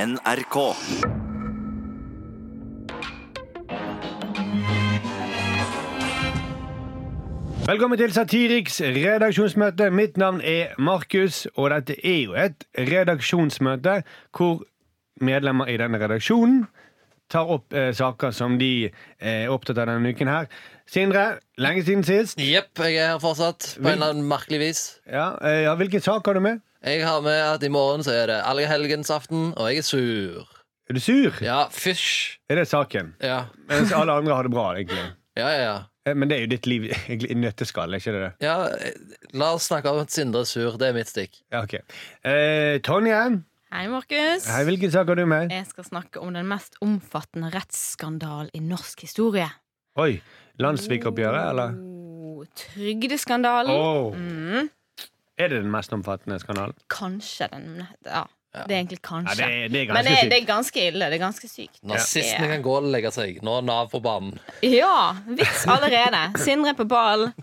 NRK. Velkommen til Satiriks redaksjonsmøte. Mitt navn er Markus, og dette er jo et redaksjonsmøte hvor medlemmer i denne redaksjonen tar opp eh, saker som de eh, er opptatt av denne uken her. Sindre, lenge siden sist. Jepp, jeg er her fortsatt. På en eller annen merkelig vis. Ja, eh, ja, Hvilken sak har du med? Jeg har med at i morgen så er det allehelgensaften, og jeg er sur. Er du sur? Ja, fysj. Er det saken? Ja. Mens alle andre har det bra, egentlig. Ja, ja, ja. Eh, Men det er jo ditt liv egentlig i nøtteskall, er ikke det det? ja. eh, La oss snakke om at Sindre er sur. Det er mitt stikk. Ja, ok. Eh, Tonje, Hei, Markus. hei, hvilken sak har du med? Jeg skal snakke om den mest omfattende rettsskandalen i norsk historie. Oi, Landsvik-oppgjøret, eller? Oh, trygdeskandalen. Åh. Mm, Er det den mest omfattende skandalen? kanskje den ja, Det er egentlig Ja, kanskje. det, er- det er Men ganske det, sykt. det er ganske ille. Det er ganske sykt. Nazistene Ja. kan gå og legge seg. Nå er Nav på banen. Ja! Vits allerede. Sindre er på ballen.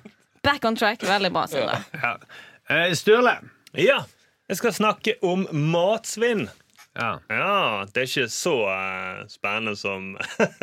Back on track. Veldig bra, Sindre. Ja. Eh, Sturle. Ja, jeg skal snakke om matsvinn. Ja. Ja, Det er ikke så eh, spennende som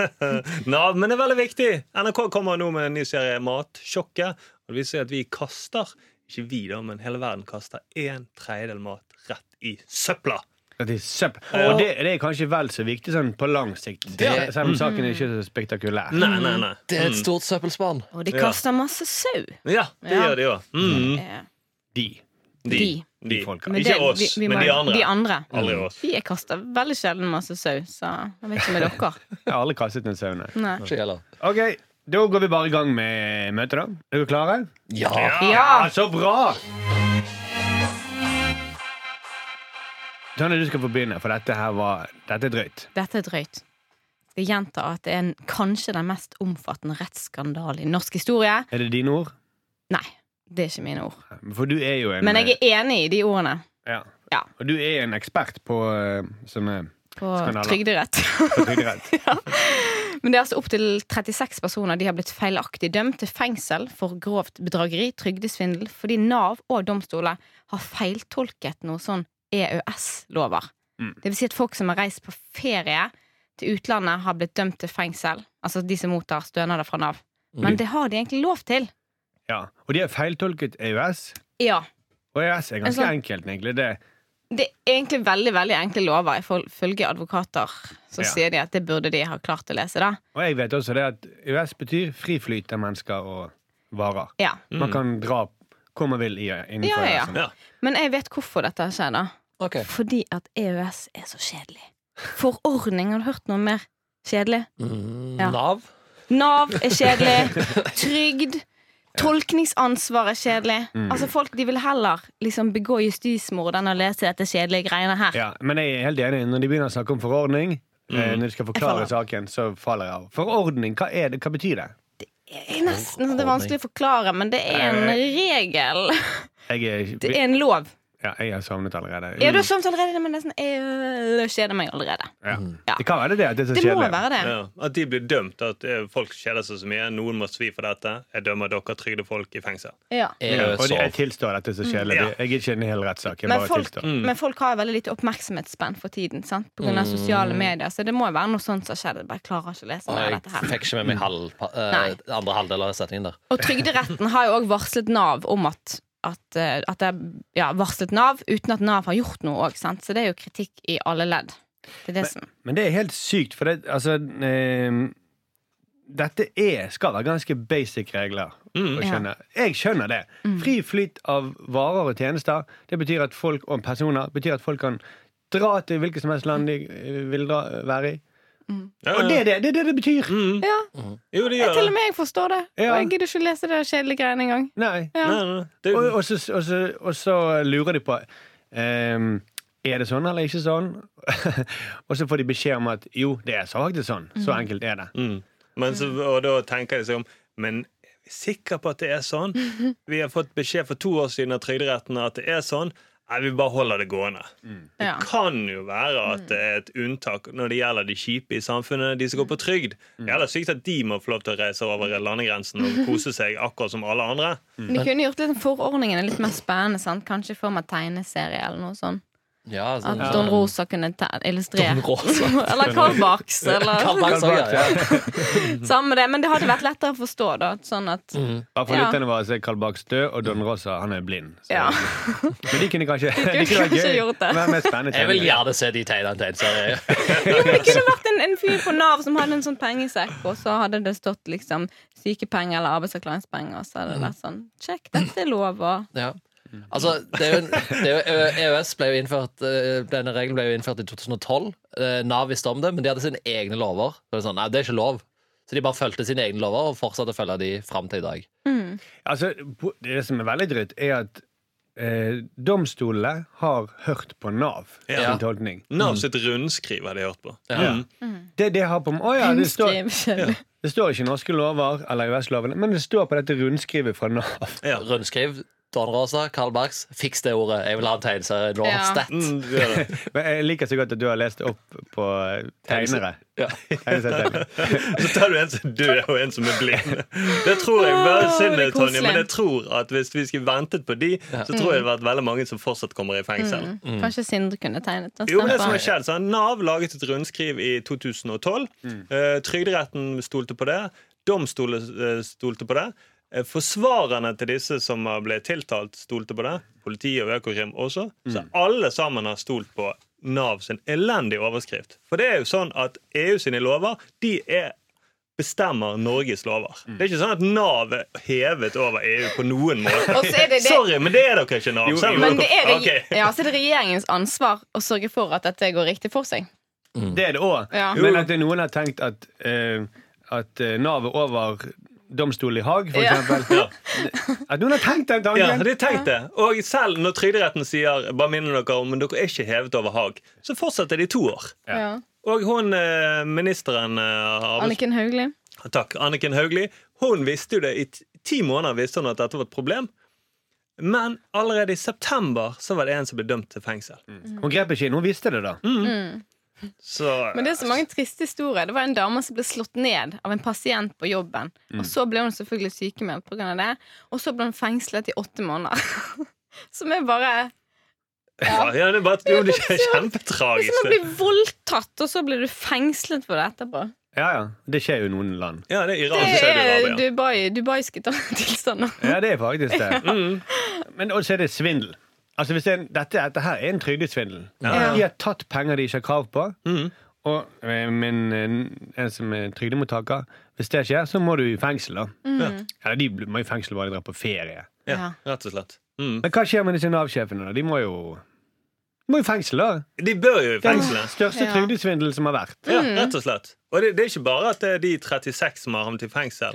Nav, men det er veldig viktig. NRK kommer nå med en ny serie Matsjokket. Og det viser at vi kaster ikke vi da, men hele verden kaster en tredjedel mat rett i søpla. Det er søppel. Og det, det er kanskje vel så viktig sånn på lang sikt. Det- Selv om saken Mm. er ikke så spektakulær. Nei, nei, nei. Det er et stort søppelspann. Og de Ja. kaster masse sau. Ja, det Ja. gjør de òg. Mm. Eh, De. De. De. de. folka. men Ikke det- oss, vi- vi men må- de andre. De andre. Aldri oss. Vi kaster veldig sjelden masse sau, så jeg vet ikke med dere. Jeg har aldri kastet en sau, nei. Nei. Ikke heller. Ok, da går vi bare i gang med møtet, da. Er dere klare? Ah, Ja. Ja! så bra! Tonje, du skal få begynne, for dette her var Dette er drøyt. Dette er drøyt. Jeg gjentar at det er en, kanskje den mest omfattende rettsskandalen i norsk historie. Er det dine ord? Nei, det er ikke mine ord. For du er jo en Men jeg er enig i de ordene ja. Ja. Og du er en ekspert på eh, sånne på Skandaler. trygderett. på trygderett. Men det er altså opptil 36 personer de har blitt feilaktig dømt til fengsel for grovt bedrageri, trygdesvindel, fordi Nav og domstoler har feiltolket noe sånn EØS-lover. Mm. Det vil si at folk som har reist på ferie til utlandet, har blitt dømt til fengsel. Altså de som mottar stønader fra Nav. Mm. Men det har de egentlig lov til. Ja. Og de har feiltolket EØS. Ja. Og EØS er ganske sånn- enkelt, egentlig. Det, Det er egentlig veldig veldig enkle lover. Ifølge advokater så Ja. sier de at det burde de ha klart å lese. da og jeg vet også det at EØS betyr fri flyt av mennesker og varer. Ja, Man kan dra hvor man vil i, innenfor Ja, ja, ja. EØS. Ja. Men jeg vet hvorfor dette skjer. da Ok. Fordi at EØS er så kjedelig. Forordning, har du hørt noe mer kjedelig? Mm, Ja. Nav? Nav er kjedelig. Trygd. Tolkningsansvar er kjedelig. Altså Folk de vil heller liksom begå justismord enn å lese dette kjedelige greiene her. Ja, men jeg er helt enig. Når de begynner å snakke om forordning, eh, når de skal forklare Jeg saken, så faller jeg av. Forordning, hva, er det, hva betyr det? Det er nesten så det er vanskelig å forklare, men det er en regel. Jeg er, Det er en lov. ja, jeg har sovnet allerede. Ja, du har sovet allerede, men nesten jeg kjeder meg allerede. Ja. Ja. Det kan være det, at det er så Det må kjedelig. være det. Ja, at de blir dømt. At eh, folk kjeder seg så mye. Noen må svi for dette. Jeg dømmer dere trygdefolk i fengsel. Ja. Ja, Eh, og det, jeg EØS-sov. tilstår. tilstår at det er så kjedelig. Ja. Det- Jeg er ikke i en hel rettssak. Jeg Mm. Men bare folk, tilstår. men folk har veldig lite oppmerksomhetsspenn for tiden. Sant? På grunn av sosiale medier. Så det må jo være noe sånt som har skjedd. Jeg bare klarer ikke å lese mer av Jeg Sånn dette her. fikk ikke med meg halv, eh, andre halvdel av setningen der. Og Trygderetten har jo òg varslet Nav om at at, eh, at det er ja, varslet Nav, uten at Nav har gjort noe òg. Så det er jo kritikk i alle ledd. Det er det som Men det er helt sykt, for det, altså ehm, Dette er, skal være ganske basic regler Mm. å skjønne. Jeg skjønner det. Fri flyt av varer og tjenester Det betyr at folk og personer betyr at folk kan dra til hvilket som helst land de eh, vil dra, være i. Ja, Og det er det det, er det, det betyr! Mm. Ja, Jo, det gjør til og det. med jeg forstår det. Ja. Og jeg gidder ikke å lese det kjedelige greiene engang. Nei. Ja. Nei, nei, det, Og, og, så, og, så, og så lurer de på ehm, Er det sånn eller ikke sånn? og så får de beskjed om at jo, det er så faktisk sånn. Så enkelt er det. Mm. Men så, og da tenker jeg seg om Men er vi sikre på at det er sånn? Vi har fått beskjed for to år siden av Trygderetten at det er sånn. Nei, vi bare holder det gående. Ja. Mm. Det kan jo være at det er et unntak når det gjelder de kjipe i samfunnet, de som går på Mm. trygd. Det er heller sykt at de må få lov til å reise over landegrensen og kose seg akkurat som alle andre. Men de kunne gjort litt forordningene litt mer spennende. Sant? Kanskje i form av tegneserie eller noe sånt. Ja, sånn, At Don Rosa kunne ta, illustrere. Don Rosa. eller Carbax. Hva Eller, var det, sa jeg? ja. samme det. Men det hadde vært lettere å forstå, da. Sånn at Bare for Ja. lytterne våre så er Karl Barks død, og Don Rosa han er blind. Så. Ja. Men de kunne kanskje De kunne kunne vært kanskje gøy. gjort det. Være mer spennende Jeg vil tegninger. gjerne se de tegnene til en serie. Jo, men det kunne vært en, en fyr på Nav som hadde en sånn pengesekk, og så hadde det stått liksom sykepenger eller arbeidsavklaringspenger, og så hadde det vært sånn Sjekk, dette er lov, og Ja. Mm. Altså, det er jo, en- det er jo, eh, EØS ble jo innført eh, Denne regelen ble jo innført i 2012. Eh, Nav visste om det, men de hadde sine egne lover. Så det, er sånn, nei, det er ikke lov. Så de bare fulgte sine egne lover og fortsatte å følge de fram til i dag. Altså, po- det som er veldig drøyt, er at eh, domstolene har hørt på Nav Ja. sin tolkning. Nav sitt rundskriv har de hørt på. Ja. Mm. Det de har på Å ja, det står, Skriv selv. det står ikke i norske lover eller EØS-lovene, men det står på dette rundskrivet fra Nav. Ja. Rundskriv. Don Rosa, Carl Barks, fiks det ordet. Jeg vil ha en tegneserie. nå. Ja. Stat. Mm, det er det. Men jeg liker så godt at du har lest opp på eh, tegnere. Ja. Tegneserietegnere. Så tar du en som er død, og en som er blind. Det tror jeg bare Åh, synd, det er Tonje, men koselig. Mm. jeg tror at hvis vi skulle ventet på de, så tror jeg det hadde vært veldig mange som fortsatt kommer i fengsel. Kanskje Sindre kunne tegnet den. Jo, men det som stemper. har skjedd, så har Nav laget et rundskriv i 2012. Eh, Trygderetten stolte på det. Domstolen eh, stolte på det. Eh, Forsvarerne til disse som har blitt tiltalt, stolte på det. Politiet og Økokrim også. Så alle sammen har stolt på Nav sin elendige overskrift. For det er jo sånn at EU sine lover, de er bestemmer Norges lover. Det er ikke sånn at Nav er hevet over EU på noen måte. Og så er det det- Sorry, men det er dere ikke, Nav. Jo, selv om jo. Men det dere- er, reg- Ok. ja, så er det regjeringens ansvar å sørge for at dette går riktig for seg. Det er det òg. Ja. Men at det er noen har tenkt at, eh, at eh, Nav er over domstolen i Haag, for Ja. eksempel. At noen har tenkt den Ja, tanken! de tenkte. Og selv når Trygderetten sier Bare minner dere om dere er ikke hevet over Haag, så fortsetter de to år. Ja. Ja. Og hun eh, ministeren eh, arbeids- Anniken Hauglie. Takk, Anniken Hauglie, hun visste jo det i t- ti måneder visste hun at dette var et problem. Men allerede i september så var det en som ble dømt til fengsel. Hun grep ikke inn. Hun visste det, da. Så Men det er så mange triste historier. Det var en dame som ble slått ned av en pasient på jobben. Og Mm. så ble hun selvfølgelig sykemeldt pga. det. Og så ble hun fengslet i åtte måneder. Som er bare ja. Ja, det er bare jo, det er Det er som å kjempetragisk. bli voldtatt, og så blir du fengslet for det etterpå. Ja, ja. Det skjer jo i noen land. Ja, det Det er iransk er Saudi-Arabia. Dubai, dubaiske tilstander. Ja, det er faktisk det. Men også er det svindel. Altså hvis det er en, dette, dette her er en trygdesvindel. Ja. De har tatt penger de ikke har krav på. Mhm. Og eh, min, eh, en som er trygdemottaker Hvis det skjer, så må du i fengsel, da. Mm. Eller de bl- må i fengsel bare de drar på ferie. Ja, rett og slett. Mm. Men hva skjer med disse Nav-sjefene, da? De må jo De må i fengsel, da. De bør jo i Den fengselet. største Ja. trygdesvindelen som har vært. Ja, Mm. rett og slett. Og det, det er ikke bare at det er de 36 som har havnet i fengsel,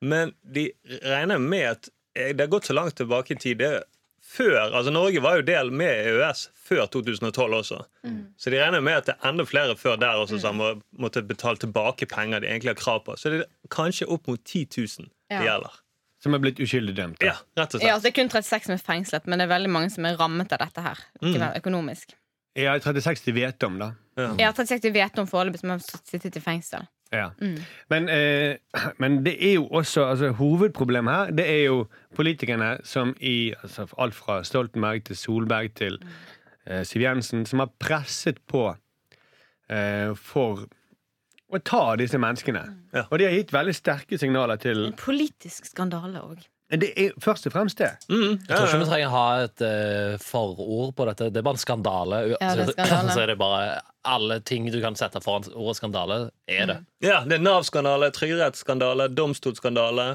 men de regner med at eh, det har gått så langt tilbake i tid. Det er før, altså Norge var jo del med EØS før 2012 også, Mm. så de regner med at det er enda flere før der også som har måttet betale tilbake penger de egentlig har krav på. Så det er kanskje opp mot 10 000 det Ja. gjelder. Som er blitt uskyldig dømt. da. Ja, rett og Ja, slett. altså, det er kun 36 som er fengslet, men det er veldig mange som er rammet av dette her. Mm. Økonomisk. Ja, 36 de vet om, da. Ja. Ja, 36 de vet om foreløpig, som har sittet i fengsel. Ja. Men, eh, men det er jo også altså, Hovedproblemet her det er jo politikerne som i altså, alt fra Stoltenberg til Solberg til eh, Siv Jensen, som har presset på eh, for å ta disse menneskene. Ja. Og de har gitt veldig sterke signaler til En politisk skandale òg. Det er først og fremst det. Mm, Jeg tror ja, ikke vi ja. trenger ha et eh, forord på dette. Det er bare en skandale. Ja, det er skandale. Så er det bare alle ting du kan sette foran ordet skandale, er det. ja, det er Nav-skandale, trygderettsskandale, domstolsskandale,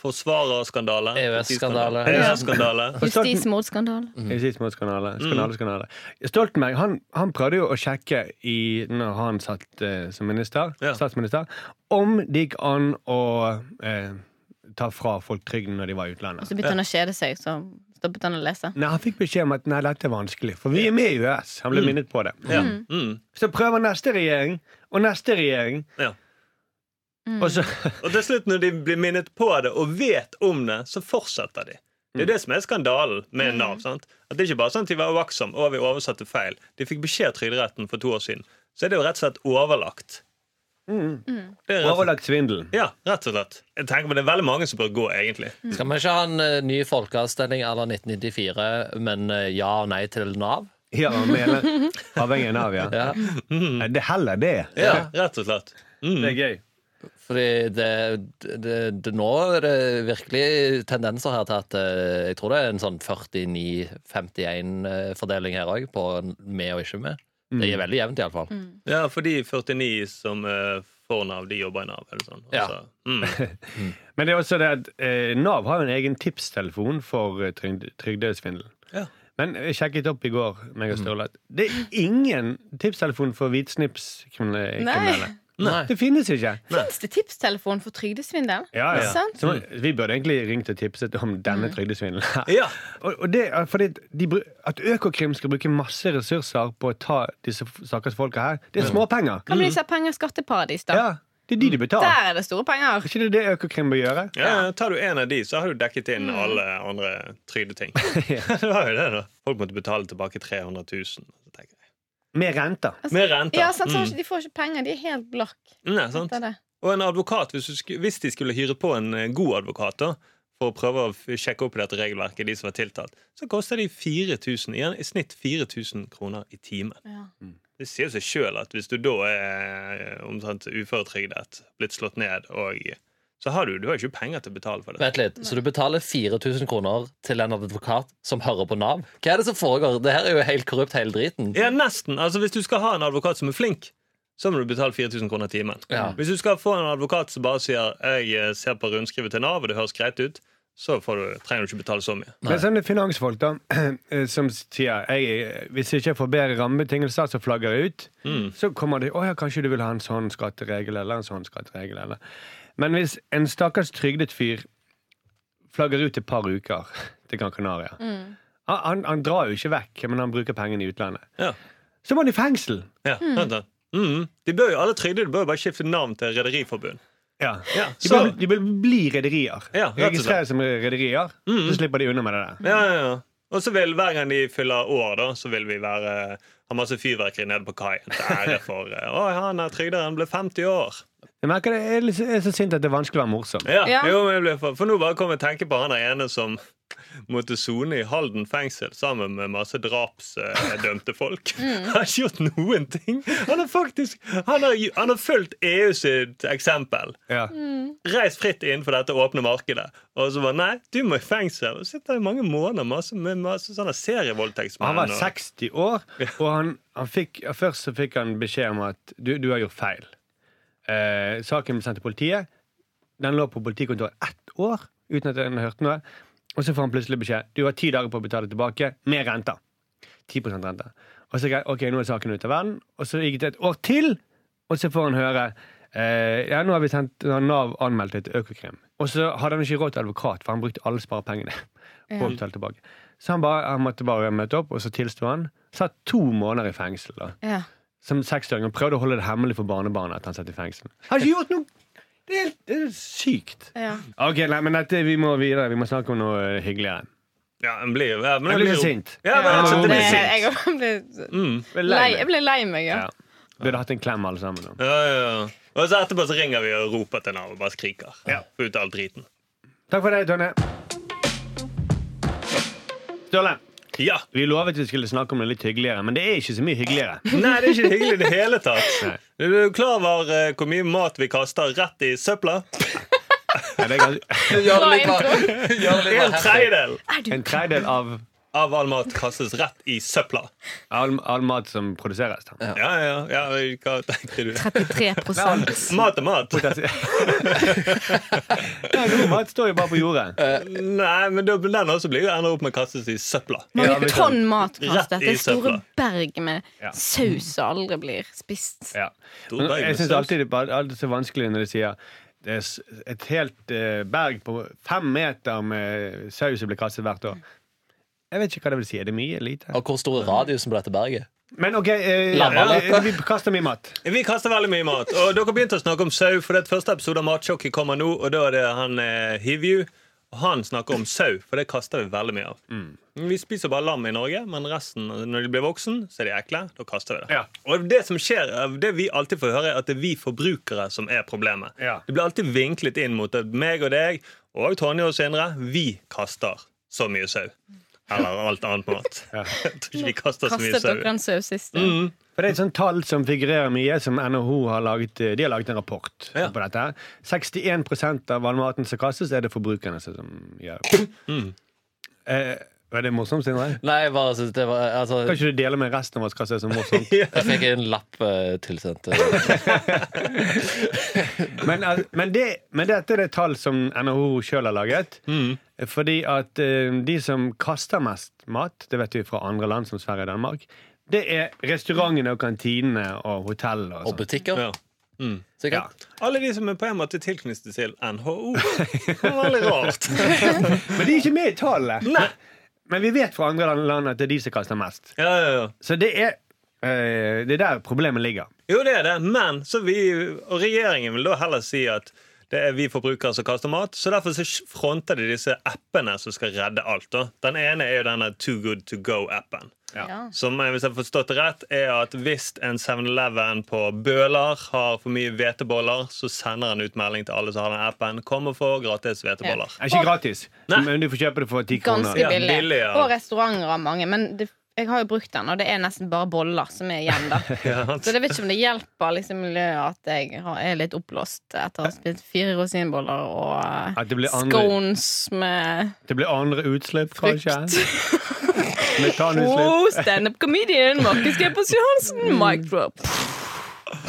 forsvarerskandale, E E EØS-skandale. EØS-skandale. Justismordskandale. Mm. Justismordskanale. Skandaleskanale. Stoltenberg han, han prøvde jo å sjekke i, når han satt eh, som minister, Ja. statsminister, om det gikk an å eh, ta fra folk trygden når de var i Og utlandet. så begynte han å kjede seg, så stoppet han å lese. Nei, Han fikk beskjed om at nei, dette er vanskelig, for vi er med i EØS. Han ble minnet på det. Ja. Mm. Så prøver neste regjering og neste regjering, Ja. og så Og til slutt, når de blir minnet på det og vet om det, så fortsetter de. Mm. Det er det som er skandalen med Nav. sant? At det er ikke bare sånn at De var uaktsomme og vi oversatte feil. De fikk beskjed av Trygderetten for to år siden. Så er det jo rett og slett overlagt. Det er rett og slett. Mm. overlagt svindel. Ja, rett og slett. Jeg tenker på Det er veldig mange som bør gå, egentlig. Mm. Skal vi ikke ha en eh, ny folkeavstemning à la 1994, men eh, ja og nei til Nav? Ja, medlem. Avhengig av Nav, ja. Ja, Nei, Det er heller det. Ja, rett og slett. Det er Mm. gøy. fordi det, det, det, nå er det virkelig tendenser her til at eh, jeg tror det er en sånn 49-51-fordeling her òg, på med og ikke med. Det er veldig jevnt, iallfall. Ja, for de 49 som eh, får Nav, de jobber i Nav. Eller sånn. Ja. Altså, mm. Men det er også det at eh, Nav har jo en egen tipstelefon for eh, trygd- trygdesvindel. Ja. Men jeg sjekket opp i går, meg og Sturle, at det er ingen tipstelefon for hvitsnipskriminelle. Nei. Nei. Det finnes ikke. Fins det tipstelefon for trygdesvindel? Ja, ja. Sant? Mm. Så vi burde egentlig ringt og tipset om denne trygdesvindelen. ja. Og, og det er fordi de, bru- At Økokrim skal bruke masse ressurser på å ta disse f- stakkars folka her, det er småpenger. Hva med disse penger i skatteparadis, da? Ja, Det er de de betaler. Mm. Der er det store penger! Er ikke det det Økokrim bør gjøre? Ja, Tar du en av de, så har du dekket inn alle andre trygdeting. det var jo det, da. Folk måtte betale tilbake 300 000. tenker jeg. Med renter. Med renter. Ja, sant, så har Mm. ikke, De får ikke penger, de er helt blakk. Nei, sant? Det er det. Og en advokat, hvis, du sku, hvis de skulle hyre på en eh, god advokat da, for å prøve å f- sjekke opp i dette regelverket, de som er tiltalt, så koster de 4000, igjen, i snitt 4000 kroner i timen. Ja. Det sier seg sjøl at hvis du da er eh, omtrent uføretrygdet, blitt slått ned, og så har du, du har jo ikke penger til å betale for det. Vent litt, Så du betaler 4000 kroner til en advokat som hører på Nav? Hva er det som foregår? Det her er jo helt korrupt, hele driten. Ja, nesten. Altså, hvis du skal ha en advokat som er flink, så må du betale 4000 kroner timen. Ja. Hvis du skal få en advokat som bare sier 'jeg eh, ser på rundskrivet til Nav', og det høres greit ut, så får du, trenger du ikke betale så mye. Men sånne finansfolk da, eh, som sier jeg, hvis jeg ikke får bedre rammebetingelser, så flagger jeg ut. Mm. Så kommer de å ja, kanskje du vil ha en sånn skatteregel eller en sånn skatteregel. Eller. Men hvis en stakkars trygdet fyr flagger ut et par uker til Gran Canaria han, han, han drar jo ikke vekk, men han bruker pengene i utlandet. Ja. Så må han i fengsel! Ja, sant det. Mm. De bør jo, alle trygdede bør jo bare skifte navn til Rederiforbund. Ja. Ja, De, så, bør, de bør bli rederier. Ja, rett og slett. Mm. Registreres som rederier, så slipper de unna med det der. ja, ja, ja. Og så vil hver gang de fyller år, da, så vil vi være, ha masse fyrverkeri nede på kaien til ære for eh, 'Å, han er trygderen ble 50 år'. Jeg merker det, jeg er litt- jeg er så sint at det er vanskelig å være morsom. Ja, Ja. Jo, men jeg ble for, for nå bare kom jeg tenke på han der ene som måtte sone i Halden fengsel sammen med masse drapsdømte folk. Mm. Han har ikke gjort noen ting! Han har faktisk Han har, han har fulgt EU sitt eksempel. Ja. Reist fritt innenfor dette åpne markedet. Og så bare Nei, du må i fengsel! Og sitter i mange måneder masse, med masse sånne serievoldtektsmenn. Han var og- 60 år, og han, han fikk, først så fikk han beskjed om at du, du har gjort feil. Eh, saken ble sendt til politiet. Den lå på politikontoret ett år uten at den hørte noe. Og så får han plutselig beskjed du har ti dager på å betale tilbake med renter. 10 rente. Og så greit, ok, nå er saken ute av verden. Og så gikk det et år til, og så får han høre eh, ja, nå har vi sendt nå har Nav anmeldt det til Økokrim. Og så hadde han ikke råd til advokat, for han brukte alle sparepengene. på å betale tilbake. Så han, bare, han måtte bare møte opp, og så tilsto han. Satt to måneder i fengsel. da. Ja. Som seksåring. Og prøvde å holde det hemmelig for barnebarnet at han satt i fengsel. Har ikke gjort noe! Det er, det er sykt. Ja. Ok, nei, men dette, Vi må videre. Vi må snakke om noe eh, hyggeligere. Ja, han blir jo ja, men Jeg han blir jo- sint. Ja, men, Ja, altså, det det- blir jeg, sint. ble Mm. lei, jeg ble lei meg, ja. Ja. Vi hadde hatt en klem, alle sammen. nå. Ja, ja, ja. Og så etterpå så ringer vi og roper til Nav og bare skriker. Ja. Få ut all driten. Takk for det, Tonje. Sturle, Ja! vi lovet vi skulle snakke om noe litt hyggeligere, men det er ikke så mye hyggeligere. Nei, det er ikke hyggelig i det hele Nei. tatt. Er du klar over eh, hvor mye mat vi kaster rett i søpla? Ja, det er ganske- Gjør det litt Bra mer- gjør det litt mer En heftig. tredjedel Er du En tredjedel av av all mat kastes rett i søpla. all, all mat som produseres. da. Ja, ja, ja, hva tenkte du? 33 Mat er mat. Ja, noe mat står jo bare på jordet. Eh, Nei, men da- den også blir jo ender opp med å kastes i søpla. Ja, Mange men- tonn mat kastet. Rett i Det er store søpla. berg med Ja. saus som aldri blir spist. Ja. To Men berg med Jeg syns saus. alltid det er alltid så vanskelig når de sier det er s- et helt eh, berg på fem meter med saus som blir kastet hvert år. Jeg vet ikke hva det vil si. Er det mye? Lite? Og hvor stor er radiusen på dette berget? Men OK, eh, Lammemat, da. eh, vi kaster mye mat. Vi kaster veldig mye mat. Og dere begynte å snakke om sau, for det første episode av Matsjokket kommer nå, og da er det han eh, Hivju. Og han snakker om sau, for det kaster vi veldig mye av. Mm. Vi spiser bare lam i Norge, men resten, når de blir voksen, så er de ekle. Da kaster vi det. Ja. Og det som skjer, eh, det vi alltid får høre, er at det er vi forbrukere som er problemet. Ja. Det blir alltid eh, vinklet inn mot at meg og deg, og Tonje og Sindre, vi kaster så mye sau. Eller alt annet mat. Ja. Jeg tror ikke vi kaster så mye Kastet sau. dere en saus sist? Mm. For Det er et sånt tall som figurerer mye, som NHO har laget, eh, de har laget en rapport Ja. på dette. her. 61 av all maten som kastes, er det forbrukerne som gjør. Mm. Eh, var det morsomt, Sindre? Nei, jeg bare synes det var altså, Kan ikke du dele med resten av oss hva som er så morsomt? Jeg fikk en lapp eh, tilsendt. eh. Men, al- men, det, men dette er det tall som NHO sjøl har laget. Mm. Fordi at eh, de som kaster mest mat, det vet vi fra andre land som Sverige og Danmark, det er restaurantene og kantinene og hotellene. Og Og sånn. sånt. butikker, Ja. Mm. ja. sikkert. Alle de som er på en måte tilknyttet til NHO. Det var Veldig rart. Men de er ikke med i tallet. Nei. Men vi vet fra andre land at det er de som kaster mest. Ja, ja, ja. Så det er, eh, det er der problemet ligger. Jo, det er det, men så vi, og regjeringen vil da heller si at det er vi forbrukere som kaster mat, så derfor så fronter de disse appene som skal redde alt. da. Den ene er jo denne Too Good To Go-appen. Ja. Som eh, hvis jeg har forstått det rett, er at hvis en 7-Eleven på Bøler har for mye hveteboller, så sender han ut melding til alle som har den appen. Kom og få gratis hveteboller. Det er ikke gratis, Nei. men du får kjøpe det for ti kroner. Ganske Ja, billig. billig, ja. Og restauranter har mange. Men det, jeg har jo brukt den, og det er nesten bare boller som er igjen. da Ja. Så jeg vet ikke om det hjelper liksom, miljøet at jeg har, er litt oppblåst etter å ha spist fire rosinboller og eh, At det blir andre, scones med det blir andre utslipp, kanskje. frukt. Metanutslipp. Oh, Standup comedian Markus G. Johansen. Mm. Mic drop.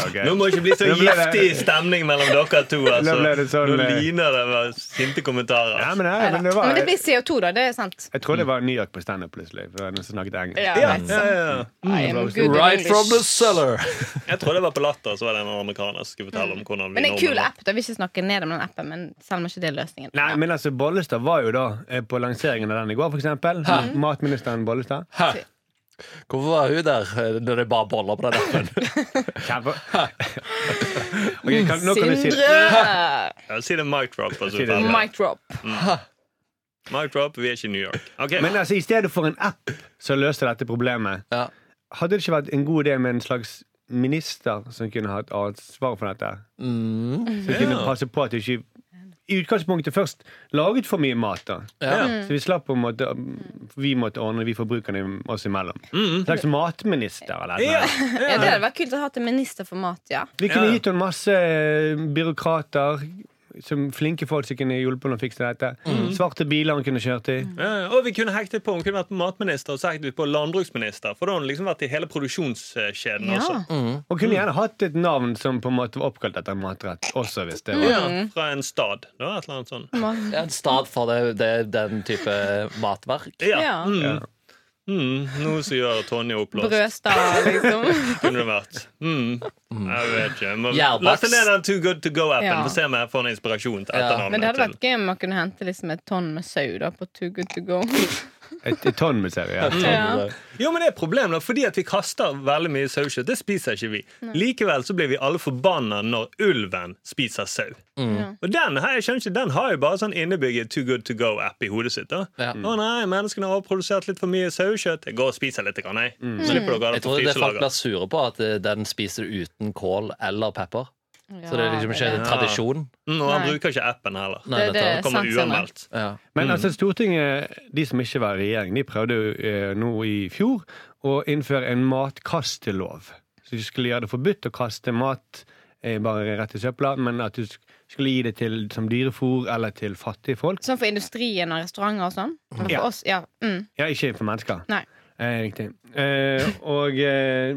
Ok. Nå må det ikke bli så Nå ble det- giftig stemning mellom dere to. Altså. Nå ble det sånn, Nå eh, liner det med sinte kommentarer. Ja, men, nei, men det var, Men det blir CO2, da. Det er sant. jeg tror det var New York på standup plutselig. For det Mm. var noen som snakket engelsk. Ja, ja, men- ja, ja. I am good in Right from the English. cellar! Jeg tror det var på Latter, så var det en amerikaner som skulle fortelle om hvordan vi Mm. Men det er en kul nordmenn- app. da Jeg vil ikke snakke ned om den appen, men selv om ikke det er løsningen. Nei, men altså, Bollestad var jo da eh, på lanseringen av den i går, for eksempel. Mm. Matministeren Bollestad. Hæ? Hvorfor var hun der eh, når det bare boller på den appen? Kjempe. Ok, kan, nå kan du si det. Sindre! Ja, si det mic drop. Altså, Si det. Mic. Mic drop. mic drop, vi er ikke i New York. Ok, Men altså, i stedet for en app som løste dette problemet, Ja. hadde det ikke vært en god idé med en slags minister som kunne hatt ansvar for dette? Mm. Som kunne Ja. passe på at det ikke i utgangspunktet først laget for mye mat. da Ja. Så vi slapp på en måte Vi måtte ordne vi forbrukerne oss imellom. En slags matminister eller Mm. Ja, noe. Ja, det hadde vært kult å ha hatt en minister for mat, ja. Vi kunne Ja. gitt henne masse eh, byråkrater. Som flinke folk som kunne hjulpet henne å fikse dette. Mm. Svarte biler hun kunne kjørt i. ja. Og vi kunne hektet på, Hun kunne vært matminister og så hektet vi på landbruksminister. For da har hun liksom vært i hele produksjonskjeden Ja. Mm, også. Og kunne gjerne hatt et navn som på en måte var oppkalt etter en matrett. Også hvis det var Ja, fra en stad. Det var et eller annet sånn. Mat. Det er en stad for det, det, er den type matverk. Ja. Ja. Mm. Ja. Mm. Noe som gjør Tonje oppblåst. Brødstad, liksom. Kunne det vært. Mm. Jeg vet ikke. Jeg må Gjærbakst. laste ned den Too Good To Go-appen. Ja. Få se om jeg får noe inspirasjon til Ja. etternavnet. Men det hadde til- vært gøy om man kunne hente liksom et tonn med sau da, på Too Good To Go. et, et tonn med serier. Mm. Ja. Jo, men det er et problem da, fordi at vi kaster veldig mye sauekjøtt. Det spiser ikke vi. Likevel så blir vi alle forbanna når ulven spiser sau. Mm. Og den her, jeg skjønner ikke, den har jo bare sånn innebygget Too Good To Go-app i hodet sitt. da. Ja. Å nei, menneskene har produsert litt for mye sauekjøtt. Jeg går og spiser litt, grann, jeg. Mm. Så slipper dere Jeg det på tror det er folk blir fryselager. sure på at eh, den spiser du uten kål eller pepper. Så det er liksom ikke Ja, en tradisjon. Mm, og han Nei. bruker ikke appen heller. Nei, Det er det Den kommer sant, Sindre. uanmeldt. Ja. Men altså Stortinget, de som ikke var i regjering, de prøvde jo eh, nå i fjor å innføre en matkastelov. Så de skulle gjøre det forbudt å kaste mat eh, bare rett i søpla, men at du sk- skulle gi det til som dyrefôr eller til fattige folk. Sånn for industrien og restauranter og sånn? Men Ja. for oss, ja. Mm. Ja, ikke for mennesker. Nei. Eh, riktig. Eh, og eh,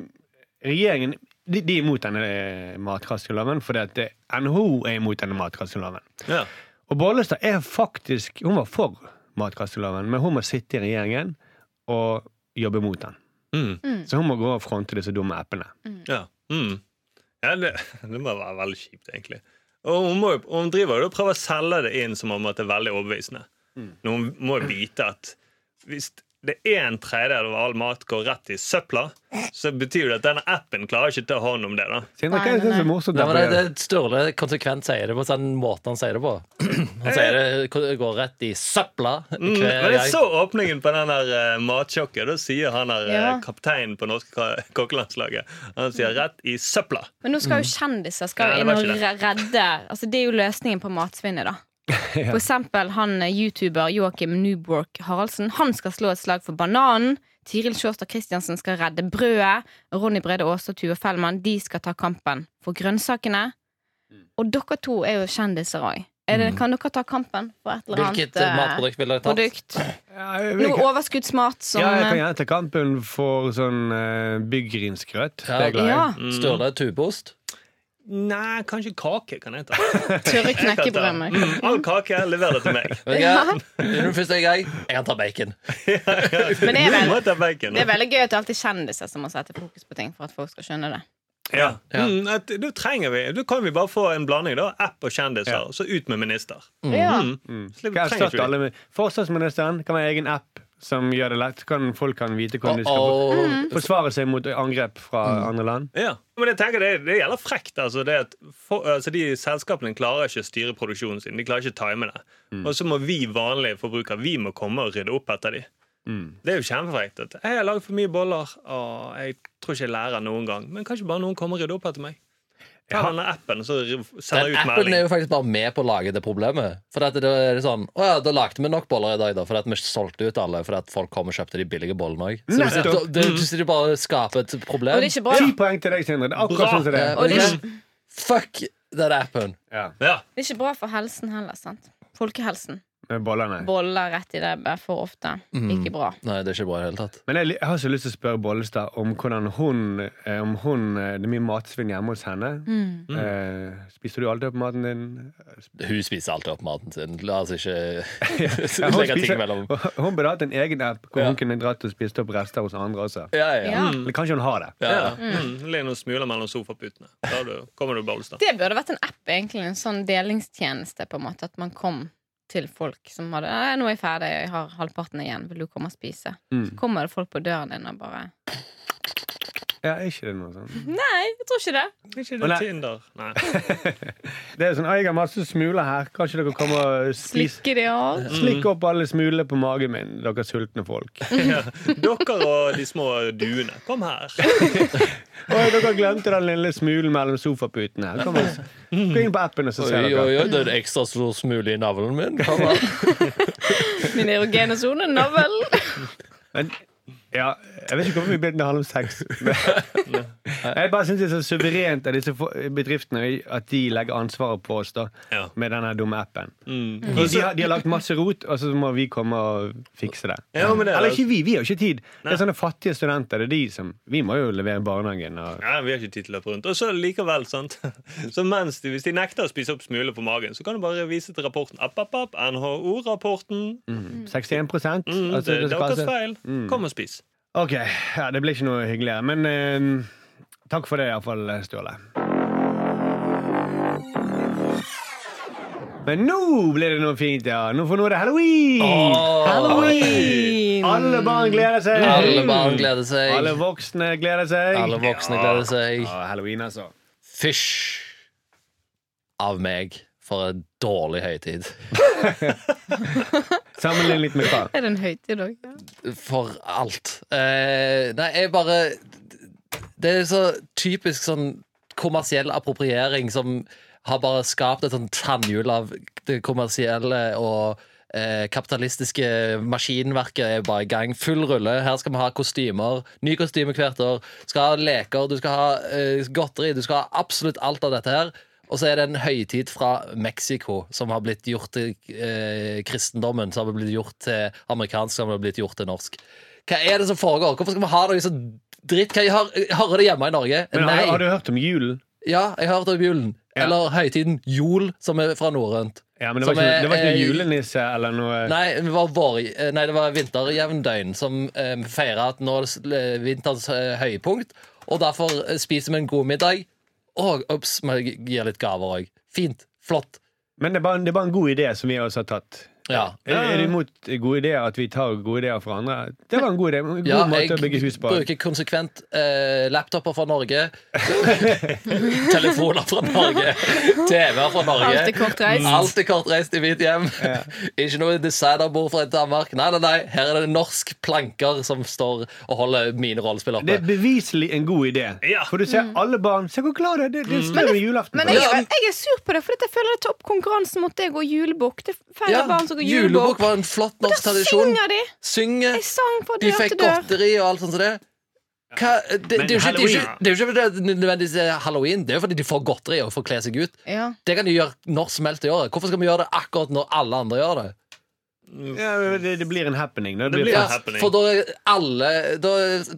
regjeringen de, de er imot denne eh, matkasteloven, fordi at eh, NHO er imot denne matkasteloven. Ja. Og Bollestad er faktisk Hun var for matkasteloven, men hun må sitte i regjeringen og jobbe mot den. Mm. Så hun må gå og fronte disse dumme appene. Ja, mm. ja det, det må være veldig kjipt, egentlig. Og hun, må, jo- og hun driver jo og prøver å selge det inn som om at det er veldig overbevisende. Men hun må jo vite at hvis det er en tredjedel av all mat går rett i søpla, så betyr jo det at denne appen klarer ikke å ta hånd om det. da. Sindre, hva Nei, er det nei, som er nei. morsomt? Nei, men det, der? det Sturle konsekvent sier det på den måten han sier det på. Han sier det går rett i søpla Mm, hver men jeg så gang. åpningen på den der eh, matsjokket. Da sier han der eh, Ja. kapteinen på norske ka- kokkelandslaget Han sier 'rett i søpla'. Men nå skal jo kjendiser skal jo Ja, det inn var og ikke re- redde Altså Det er jo løsningen på matsvinnet, da. Ja. For eksempel han eh, YouTuber Joakim Newbork Haraldsen. Han skal slå et slag for bananen. Tiril Sjåstad Christiansen skal redde brødet. og Ronny Brede Aase og Tuva Fellmann de skal ta kampen for grønnsakene. Og dere to er jo kjendiser òg. Kan dere ta kampen for et eller annet Hvilket eh, eh, matprodukt ville dere tatt? produkt? Ja, jeg, vil Noe ikke- overskuddsmat som ja, jeg kan eh, gjerne ta kampen for sånn uh, byggrynsgrøt. Det er jeg glad i. ja, Sturle tubeost? Nei, kanskje kake kan jeg ta. tørre Jeg kan ta- knekkebrød med. Mm, All kake, lever det til meg. Vet du hva? Under den første gang, jeg kan ta bacon. Men det er, Du må vel, ta bacon. det er veldig gøy at det alltid er kjendiser som må sette fokus på ting for at folk skal skjønne det. Ja. Ja. Mm, at, da trenger vi Da kan vi bare få en blanding, da. App og kjendiser. Ja. og Så ut med minister. Ja. Mm. Kan Slipper- trenger erstatte ikke vi. alle med Forsvarsministeren kan være egen app som gjør det lett. Kan, folk kan vite hvordan de skal for- Og, forsvare seg mot angrep fra andre land. Ja. Men jeg tenker det, det gjelder frekt. Altså, det at for, altså, de Selskapene klarer ikke å styre produksjonen sin. De klarer ikke å time det. Og så må vi vanlige forbrukere Vi må komme og rydde opp etter de. Det er jo kjempefrekt. At jeg har lagd for mye boller, og jeg tror ikke jeg lærer noen gang. Men kanskje bare noen kommer og rydder opp etter meg. Ta den appen, og så sender den jeg ut appen er melding. jo faktisk bare med på å lage det problemet. For at da er det sånn Å ja, da lagde vi nok boller i dag, da. For at vi solgte ut alle. For at folk kom og kjøpte de billige bollene òg. Så du sitter, Nettopp. Mm. du, du sitter bare og skaper et problem. Og det er ikke bra. Ti poeng til deg, Sindre. Det er akkurat Bra. sånn som det Eh, er. Og det er ok. Fuck den appen. Ja, Ja. Det er ikke bra for helsen heller, sant? Folkehelsen. med bollene. Boller rett i det for ofte. Ikke bra. Nei, det er ikke bra i det hele tatt. Men jeg, li- jeg har så lyst til å spørre Bollestad om hvordan hun, eh, om hun eh, Det er mye matsvinn hjemme hos henne. Mm. Eh, spiser du alltid opp maten din? Hun spiser alltid opp maten sin. La oss ikke Ja, hun, legge ting mellom. hun burde hatt en egen app hvor Ja. Mm. hun kunne dratt og spist opp rester hos andre også. Ja, ja. Ja. Men kanskje hun har det. Ja. Mm. Ligg noen smuler mellom sofaputene. Da du, kommer du Bollestad. Det burde vært en app, egentlig. En sånn delingstjeneste, på en måte. At man kom til folk som hadde «Nei, 'Nå er jeg ferdig, jeg har halvparten igjen. Vil du komme og spise?' Så kommer det folk på døren din og bare Ja, er ikke det noe sånn? Nei, jeg tror ikke det. Ikke Å, det nei. Tinder. Nei. Det er sånn, «Å, Jeg har masse smuler her. Kanskje dere kommer og spiser Slikke de av. Mm. Slikk opp alle smulene på magen min, dere sultne folk. Ja. Dere og de små duene. Kom her. Oi, dere glemte den lille smulen mellom sofaputene. Kom og s- Gå inn på appen og så ser Oi, oi, dere. oi, det er en ekstra stor smule i navlen min. Kom her. Min erogene sone, navlen. Men, ja, jeg vet ikke hvorfor vi begynte å handle om sex. Jeg bare syns det er så suverent av disse få- bedriftene at de legger ansvaret på oss da Ja. med denne dumme appen. Mm. De, de, har, de har lagt masse rot, og så må vi komme og fikse det. Ja, men det er- Eller ikke vi. Vi har ikke tid. Det er sånne fattige studenter. Det er de som, vi må jo levere barnehagen. Og, Nei, vi har ikke tid til å løpe rundt. Og så likevel, sant. Så mens de, hvis de nekter å spise opp smuler på magen, så kan du bare vise til rapporten. App, app, app, NHO-rapporten. Mm, Altså, 61 prosent. Altså, det er deres feil. Kom og spis. Ok, ja, det ble ikke noe hyggeligere, men eh, takk for det iallfall, Ståle. Men nå blir det noe fint, ja. Nå for nå er det halloween! Åh. halloween! Alle barn gleder seg. Alle barn gleder seg. Alle voksne gleder seg. Alle voksne gleder seg. Ja, halloween, altså. Fysj av meg for en dårlig høytid. Sammenlign litt med hva? Er det en høytid òg? For alt. Eh, nei, jeg bare Det er så typisk sånn kommersiell appropriering som har bare skapt et sånn tannhjul av det kommersielle og eh, kapitalistiske maskinverket er bare i gang. Full rulle. Her skal vi ha kostymer. Ny kostyme hvert år. Skal ha leker, du skal ha eh, godteri, du skal ha absolutt alt av dette her. Og så er det en høytid fra Mexico som har blitt gjort til eh, kristendommen, som har blitt gjort til amerikansk, som har blitt gjort til norsk. Hva er det som foregår? Hvorfor skal vi ha noe så dritt? Kan jeg høre, hører det hjemme i Norge? Men Nei. har, har du hørt om julen? Ja, jeg har hørt om julen. Ja. Eller høytiden jul, som er fra norrønt. Ja, men Det Som var ikke, er- eh, det var ikke noe er- julenisse eller noe Nei, det var, vår, eh, nei, det var vinterjevndøgn som eh, feira at nå er s- eh, vinterens eh, høypunkt. Og derfor eh, spiser vi en god middag. Og ups, vi gir litt gaver òg. Fint. Flott. Men det er, bare, det er bare en god idé som vi også har tatt. Ja. Er, er du imot gode ideer, at vi tar gode ideer fra andre? Det var en god idé. en God Ja, måte jeg å bygge hus på. bruker konsekvent eh, laptoper fra Norge, telefoner fra Norge, TV-er fra Norge. Alt er kortreist. Alt er kortreist i mitt hjem. Ikke noe designerbord fra Danmark. Nei, nei, nei. Her er det norsk planker som står og holder mine rollespill Det oppe. er beviselig en god idé. Ja. For du ser alle barn Se hvor glad det er! Mm. Det, det slår jo julaften. Mm. Men på. jeg, Ja, men- jeg er sur på det, for jeg føler det tar opp konkurransen mot deg og julebukk. Det er færre Ja, barn som går julebukk julebukk. var en flott norsk Da tradisjon. synger de! Synger. Jeg sang på De dør fikk til dør. godteri og alt sånt som det. Hva, det, det, er jo ikke, det, er jo ikke, det er jo ikke fordi det nødvendigvis er halloween, det er jo fordi de får godteri og får kle seg ut. Ja. Det kan de gjøre når som helst i året. Hvorfor skal vi gjøre det akkurat når alle andre gjør det? Ja, det, det blir en happening. da. Det blir blir sånn. Ja, en fest. happening. for da, er alle, da,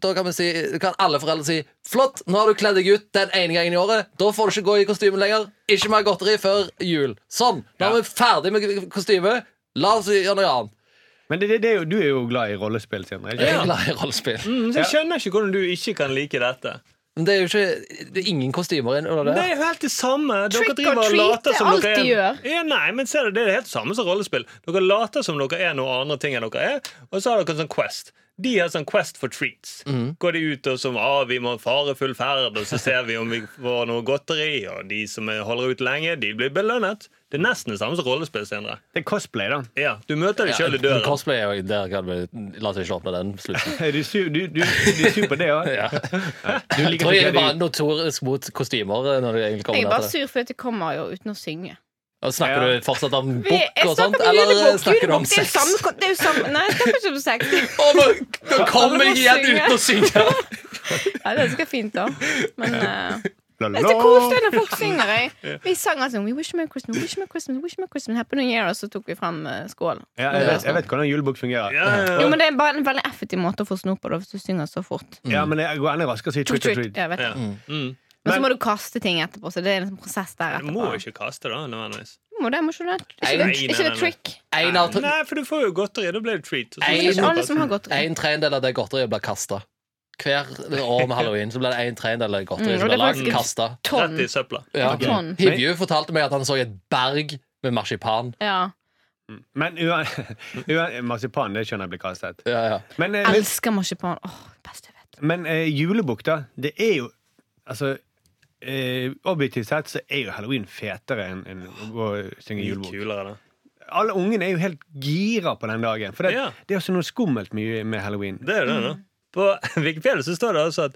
da kan, vi si, kan alle foreldre si 'Flott, nå har du kledd deg ut den ene gangen i året.' 'Da får du ikke gå i kostyme lenger. Ikke mer godteri før jul.' Sånn. Nå er vi ferdig med kostyme. La oss gjøre noe annet. Men det, det, det er jo, du er jo glad i rollespill, Sindre. ikke Jeg sant? er glad i rollespill. Mm, så jeg skjønner ikke hvordan du ikke kan like dette. Men det er jo ikke det er ingen kostymer under Det det. er jo helt det samme. Dere Trick driver or og treat, later det er som alt dere de er gjør. ja, Nei, men ser du, Det er det helt samme som rollespill. Dere later som dere er noe andre ting enn dere er, og så har dere en sånn Quest. De har sånn Quest for treats. Mm. Går de ut og som ah, vi må fare full ferd, og så ser vi om vi får noe godteri, og de som holder ut lenge, de blir belønnet. Det er nesten det samme som rollespill, Sindre. Det er cosplay, da. Ja, du møter deg sjøl i men døren. Cosplay er jo der kan vi La oss ikke åpne den slutten. Er Du, su- du, du, du er sur på det òg. Ja. Du Jeg liker tror ikke jeg er bare det. notorisk mot kostymer. eh, Når det egentlig kommer Jeg er ned til bare det. sur fordi det kommer jo uten å synge. Og snakker Ja. du fortsatt om Vi, bukk jeg og sånt, snakker om eller eh, julebukk. snakker du om Julebukk det er jo sex? samme kon- det er jo samme Nei, jeg snakker ikke om sex. Å, nå, nå kom Alle må jeg igjen synge. uten å synge! Ja, det skal fint, da. Men eh, La, la. det er så koselig når folk synger. Jeg. Vi sang altså We wish me a Christmas, we wish me a Christmas, we wish me a Christmas. Happy New Year, og så tok vi frem eh, skålen. Ja, jeg, vet, jeg vet hvordan julebukk fungerer. Ja, ja, Jo, ja. men Det er bare en veldig effektiv måte å få snop på da, hvis du synger så fort. Ja, Mm. men jeg går enda raskere og sier Trick, trick or trick. treat. Ja, jeg vet Ja. det. Mm. Men så må du kaste ting etterpå, så det er en sånn prosess der Du etterpå. må ikke kaste, da. nødvendigvis Jo, det må ikke du Nei, det. Er nei, ikke det, ikke nei, det nei. trick? En, av, Nei, for du får jo godteri. Da blir det treat. og så- Det er ikke alle som har gått rundt. en tredjedel av det godteriet blir kasta. Hver år med halloween så blir det en tredjedel av Mm, godteriet og som det blir er lagd faktisk- kasta. Tonn. Rett i søpla. Ja. Ok. Tonn. Hivju fortalte meg at han så et berg med marsipan. Ja. Men uan- uan- Marsipan, det skjønner jeg blir kastet. Ja, ja. Men, eh, men, Elsker marsipan. Åh, best jeg vet. men eh, julebukk, da. Det er jo Altså eh, Objektivt sett så er jo halloween fetere enn enn å synge julebukk. Kulere, da. Alle ungene er jo helt gira på den dagen. For det, Ja. det er også noe skummelt med, med halloween. Det er det, da. På Wikipedia så står det altså at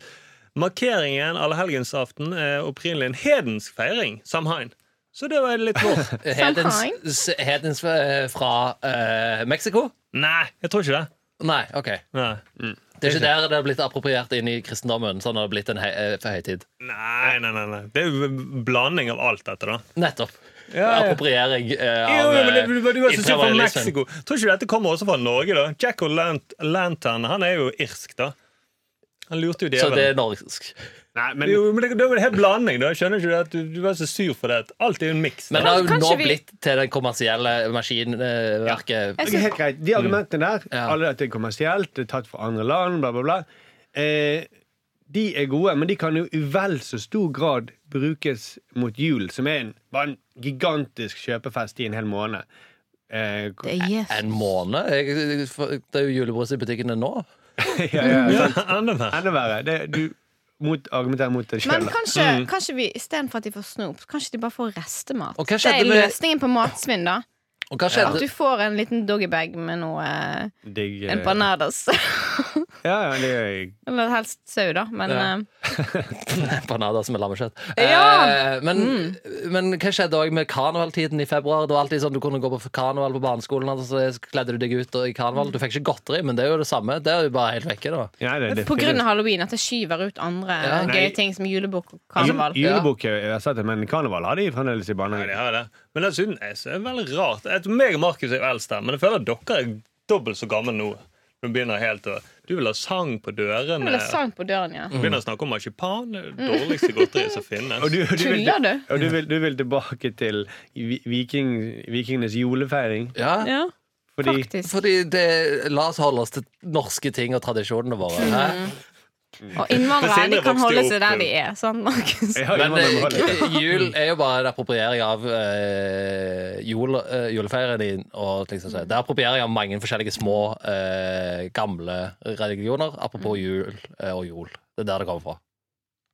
markeringen allehelgensaften er opprinnelig en hedensk feiring. Samhain. Så det var litt vårt. Hedens, Samhain. s- hedens eh, fra eh, Mexico? Nei, jeg tror ikke det. Nei, OK. Nei, Det er ikke der det har blitt appropriert inn i kristendommen. Sånn har det blitt en hei, eh, for høytid. nei, nei. nei, nei. Det er jo en blanding av alt dette, da. Nettopp. Ja, ja. Appropriering eh, Jo, av jo, men det, eh, det, det var så sykt fra imperialismen. Mexico. Tror ikke dette kommer også fra Norge, da. Jack O'Lantern han er jo irsk, da. Han lurte jo Så det djevelen. er norsk. Nei, men Jo, men det, det var en hel blanding, da. Skjønner ikke du at du, du var så sur for det? Alt er jo en miks. Men det har jo Kanskje nå vi- blitt til den kommersielle maskinverket. Ok, helt greit. Mm. De argumentene der, Ja. alle at det er kommersielt, det er tatt fra andre land, bla, bla, bla, eh, de er gode, men de kan jo i vel så stor grad brukes mot jul, som er en, bare en gigantisk kjøpefest i en hel måned. Eh, Det er Jesus. En måned? Jeg, det er jo julebrus i butikkene nå. ja, ja, ja. Ja, enda mer. Enda verre. Det, du mot, argumenterer mot deg Men sjøl. kanskje, kanskje vi istedenfor at de får snop, kanskje de bare får restemat. Og hva Det skjedde er med- løsningen på matsvinn, da. Og hva At skjedde? du får en liten doggybag med noe eh, Digg. eh, empanadas. Ja, ja, det er Eller helst sau, da. Men Ja. eh, Empanadas med lammekjøtt. Ja. Eh, men, men hva skjedde også med karnevaltiden i februar? Det var alltid sånn Du kunne gå på karneval på barneskolen, og så kledde du deg ut i karneval. Du fikk ikke godteri, men det er jo det samme. Det er jo bare helt vekke, da. ja, det, det på grunn av halloween at det skyver ut andre Ja. gøye Nei. ting som julebukk og karneval. Ju- Julebukk er- eh, jeg har sett det, men karneval har de fremdeles i Ja, de barnehagen. har det. Men dessuten jeg synes det er veldig rart. Jeg tror meg og Markus er jo eldst her, men jeg føler at dere er dobbelt så gamle nå. Du begynner helt å Du vil ha sang på Jeg vil dørene. ha sang sånn Mm. på døren, ja. Mm. Du begynner å snakke om marsipan. Det er det dårligste godteriet som finnes. Og du- og du vil- Tuller du? Og du vil, du vil tilbake til vi- viking, vikingenes julefeiring? Ja. Ja, Fordi faktisk. Fordi det, La oss holde oss til norske ting og tradisjonene våre. Hæ? Og innvandrere Sindre de kan vokste holde jo seg opp- der de er. Sant, Markus? Jeg har Men innvandret med Holland. eh, jul er jo bare en appropriering av eh, jul, eh, julefeiringen din. Og liksom, så. Det er appropriering av mange forskjellige små, eh, gamle religioner. Apropos jul eh, og jol. Det er der det kommer fra.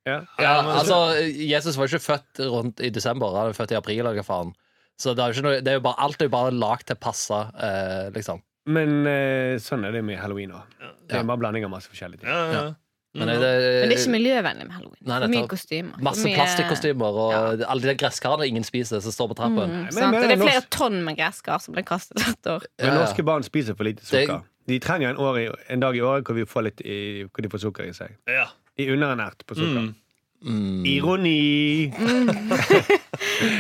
Ja. Ja, men- altså, Jesus var jo ikke født rundt i desember, han er født i april. eller hva faen Så det er jo ikke noe, det er jo bare, alt er jo bare lagd til å passe, eh, liksom. Men eh, sånn er det med halloween òg. Det er bare en blanding av masse forskjellige ting. Ja, ja. Ja. Men det, Mhm. Men det er ikke miljøvennlig med halloween. Nei, For mye nettopp. kostymer. for masse mye- plastikkostymer og alle de der gresskarene ingen spiser, som står på trappen. Mm, men- sant? men Og det er flere norsk- tonn med gresskar som blir kastet hvert år. Men Ja, ja. norske barn spiser for lite Det- sukker. De trenger en, år i, en dag i året hvor, vi får litt i, hvor de får sukker i seg. ja. De er underernært på sukker. Mm. Mm. Ironi!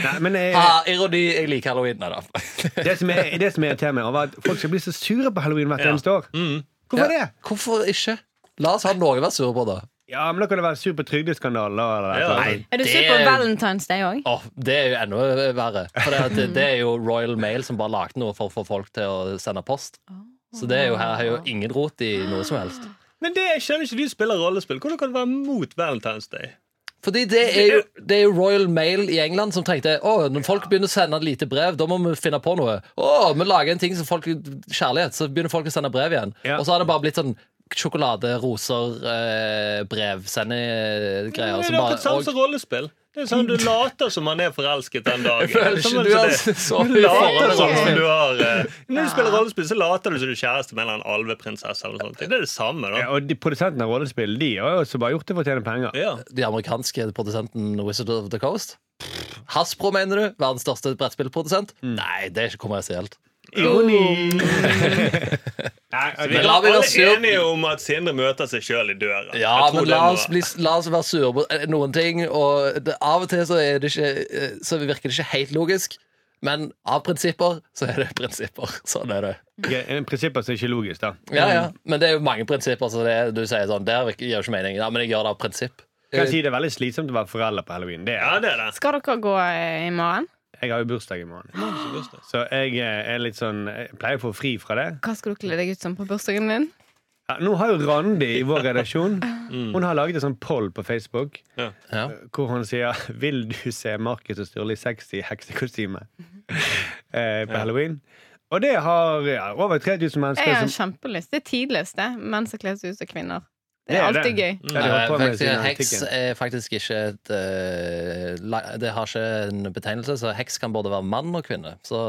Nei, men eh, Ah, ironi. Jeg liker halloween. Nei da. det som er- det som irriterer meg, var at folk skal bli så sure på halloween hvert Ja. eneste år. Mm. Hvorfor Ja. det? Hvorfor ikke? La oss ha noe å være sure på, da. Ja, men Da kan det være sur på trygdeskandalen. da, Eller, Ja. eller, Nei. Er du Det- sur på Valentine's Day òg? Åh, det er jo enda verre. For det, at det, det er jo Royal Mail som bare lagde noe for å få folk til å sende post. Så det er jo her har jo ingen rot i noe som helst. Men det jeg skjønner ikke de spiller rollespill. Hvordan kan det være mot Valentine's Day? Fordi det er, jo, det er jo Royal Mail i England som tenkte Åh, når folk begynner å sende lite brev, da må vi finne på noe. Åh, vi lager en ting som folk Kjærlighet. Så begynner folk å sende brev igjen. Ja. Og så har det bare blitt sånn sjokolade, roser, eh, brev, Det sendegreier. som er jo altså bare- akkurat samme og- som rollespill. Det er sånn Du later som man er forelsket den dagen. Jeg føler Sånn ikke er du det har som det. så Du later som forhold til du har eh, Når du spiller rollespill, så later du som du er kjæreste med en eller annen alveprinsesse. Eller noe sånt. Det er det samme, Ja, da. og de produsentene av rollespill De har jo også bare gjort det for å tjene penger. Ja. de amerikanske produsenten Wizard of the Coast. Hasbro, mener du? Verdens største brettspillprodusent? Nei, det er ikke kommersielt. Ironi! Så Nei, vi Men er la vi da alle se- enige om at Sindre møter seg sjøl i døra. Ja, Jeg tror men det la må- oss, bli, la oss være sure på eh, noen ting. Og det, av og til så, er det ikke, eh, så virker det ikke helt logisk. Men av prinsipper så er det prinsipper. Sånn er det. okay, eh, en prinsipper som er ikke logisk, da. Ja, ja. Mm. Men det er jo mange prinsipper. Så det, er- du sier sånn, det her virker- gir jo ikke mening. Ja, men jeg gjør det av prinsipp. Kan jeg si det er veldig slitsomt å være forelder på halloween. Det Ja, er. det er det. Skal dere gå eh, i morgen? Jeg har jo bursdag i morgen, så jeg eh, er litt sånn Jeg pleier å få fri fra det. Hva skal du kle deg ut som på bursdagen din? Ja, nå har jo Randi i vår redaksjon Hun har laget en sånn poll på Facebook Ja. hvor hun sier 'Vil du se Markus og Sturle i sexy heksekostyme?' eh, på halloween. Og det har ja, over 3000 Jeg mennesker har som kjempelyst. Det er tidligst, det. Menn som kler seg ut som kvinner. Det Det er er alltid gøy. Ja, de holdt på med Faktisk, sin heks artikkel. er faktisk ikke et eh, la- Det har ikke en betegnelse, så heks kan både være mann og kvinne. Så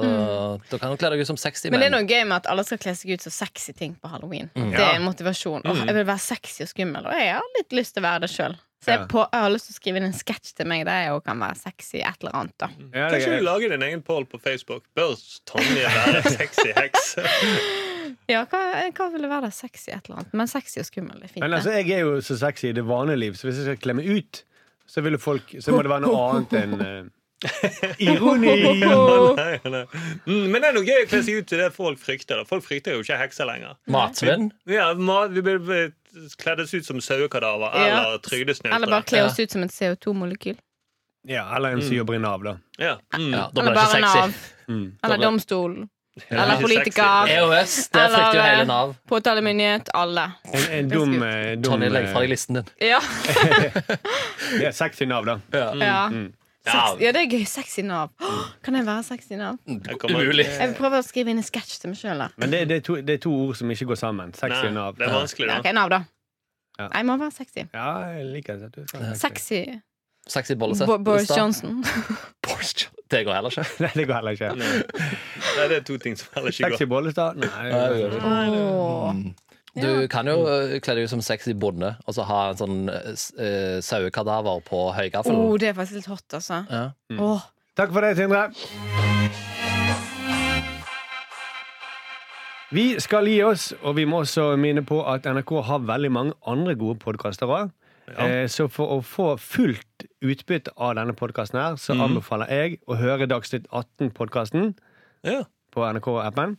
da kan du kle deg ut som 60 Mm. Men det er menn. noe gøy med at alle skal kle seg ut som sexy ting på halloween. Mm. Det Ja. er motivasjon. Åh, jeg vil være sexy og skummel, og jeg har litt lyst til å være det sjøl. Så jeg, Ja. på, jeg har lyst til å skrive inn en sketsj til meg der jeg òg kan være sexy i et eller annet. da Mm. ja, det, Kanskje du er- lager din egen poll på Facebook. Bør Tonje være sexy heks? Ja, hva, hva ville være det sexy i et eller annet? Men sexy og skummel er fint. Men det. altså, jeg er jo så sexy i det vanlige liv, så hvis jeg skal kle meg ut, så, vil jo folk, så må det være noe annet enn eh, Ironi! Åh. Nei, nei. Mm, Men det er noe gøy å kle seg ut til det folk frykter. Da. Folk frykter jo ikke hekser lenger. Matsvinn? Ja, ma- Vi blir blir kledd oss ut som sauekadaver Ja. eller trygdesnyltere. Eller bare kle oss ut som et CO2-molekyl. Ja, eller en som jobber i Nav, da. ja. mm. Ja, da blir Eller det bare ikke Nav. sexy. Mm. Da Eller ble- domstol. Ja. Eller Ikke politiker. EOS, det frykter jo Eller- hele Nav. Påtalemyndighet. Alle. En, en dum, eh, dum Tonje, legg fra eh, deg listen din. Ja. Det er sexy Nav, da. Ja. mm. Ja. Mm. Sex, ja, det er gøy. Sexy Nav. Åh, Kan jeg være sexy Nav? Jeg kommer- Umulig. Jeg prøver å skrive inn en sketsj til meg sjøl. Men det, det, er to, det er to ord som ikke går sammen. Sexy og Nei, Nav. det er vanskelig, Ja, da. ok, Nav, da. Ja. Jeg må være sexy. Ja, jeg liker det. Du skal være sexy. Sexy Sexy bollesett. Bo Boris Johnson. Boris Johnson. Det går heller ikke. Nei, det går heller ikke. Nei, det er to ting som heller ikke Sexy går. Bollestad? Nei. Nei, det gjør det Åh. Du kan jo eh, kle deg ut som sexy bonde og så ha en sånn eh, s- eh, sauekadaver på høygaffelen. Åh, det er faktisk litt hot, altså. Ja. Mm. Åh. Takk for det, Sindre. Vi skal gi oss, og vi må også minne på at NRK har veldig mange andre gode podkaster òg. Eh, så for å få fullt utbytte av denne podkasten her, så anbefaler jeg å høre Dagsnytt 18-podkasten Ja. på NRK-appen.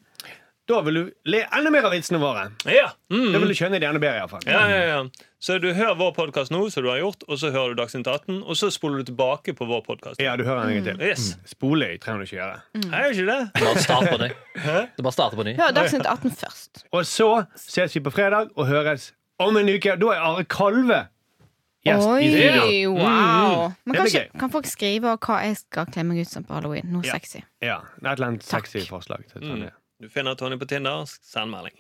Da vil du le enda mer av vitsene våre. Ja. Mm. Da vil du skjønne det enda bedre, iallfall. Ja, ja, ja. Så du hører vår podkast nå, som du har gjort, og så hører du Dagsnytt 18, og så spoler du tilbake på vår podkast. Ja, du hører den Mm. en gang til. Yes. Spoløy trenger du ikke gjøre. Er det ikke det? Bare start på ny. Det er Bare starte på ny. Hør Dagsnytt 18 først. Og så ses vi på fredag og høres om en uke. Da er Are Kalve gjest i studio. Oi, wow. Mm, Men det blir kanskje, gøy. kan folk skrive hva jeg skal kle meg ut som på halloween? Noe Ja. sexy. Ja, det er et eller annet Takk. Mm. sexy forslag. Til Tonje. Du finner Tonje på Tinder, send melding.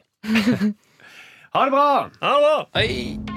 Ha det bra! Ha det bra! Hei!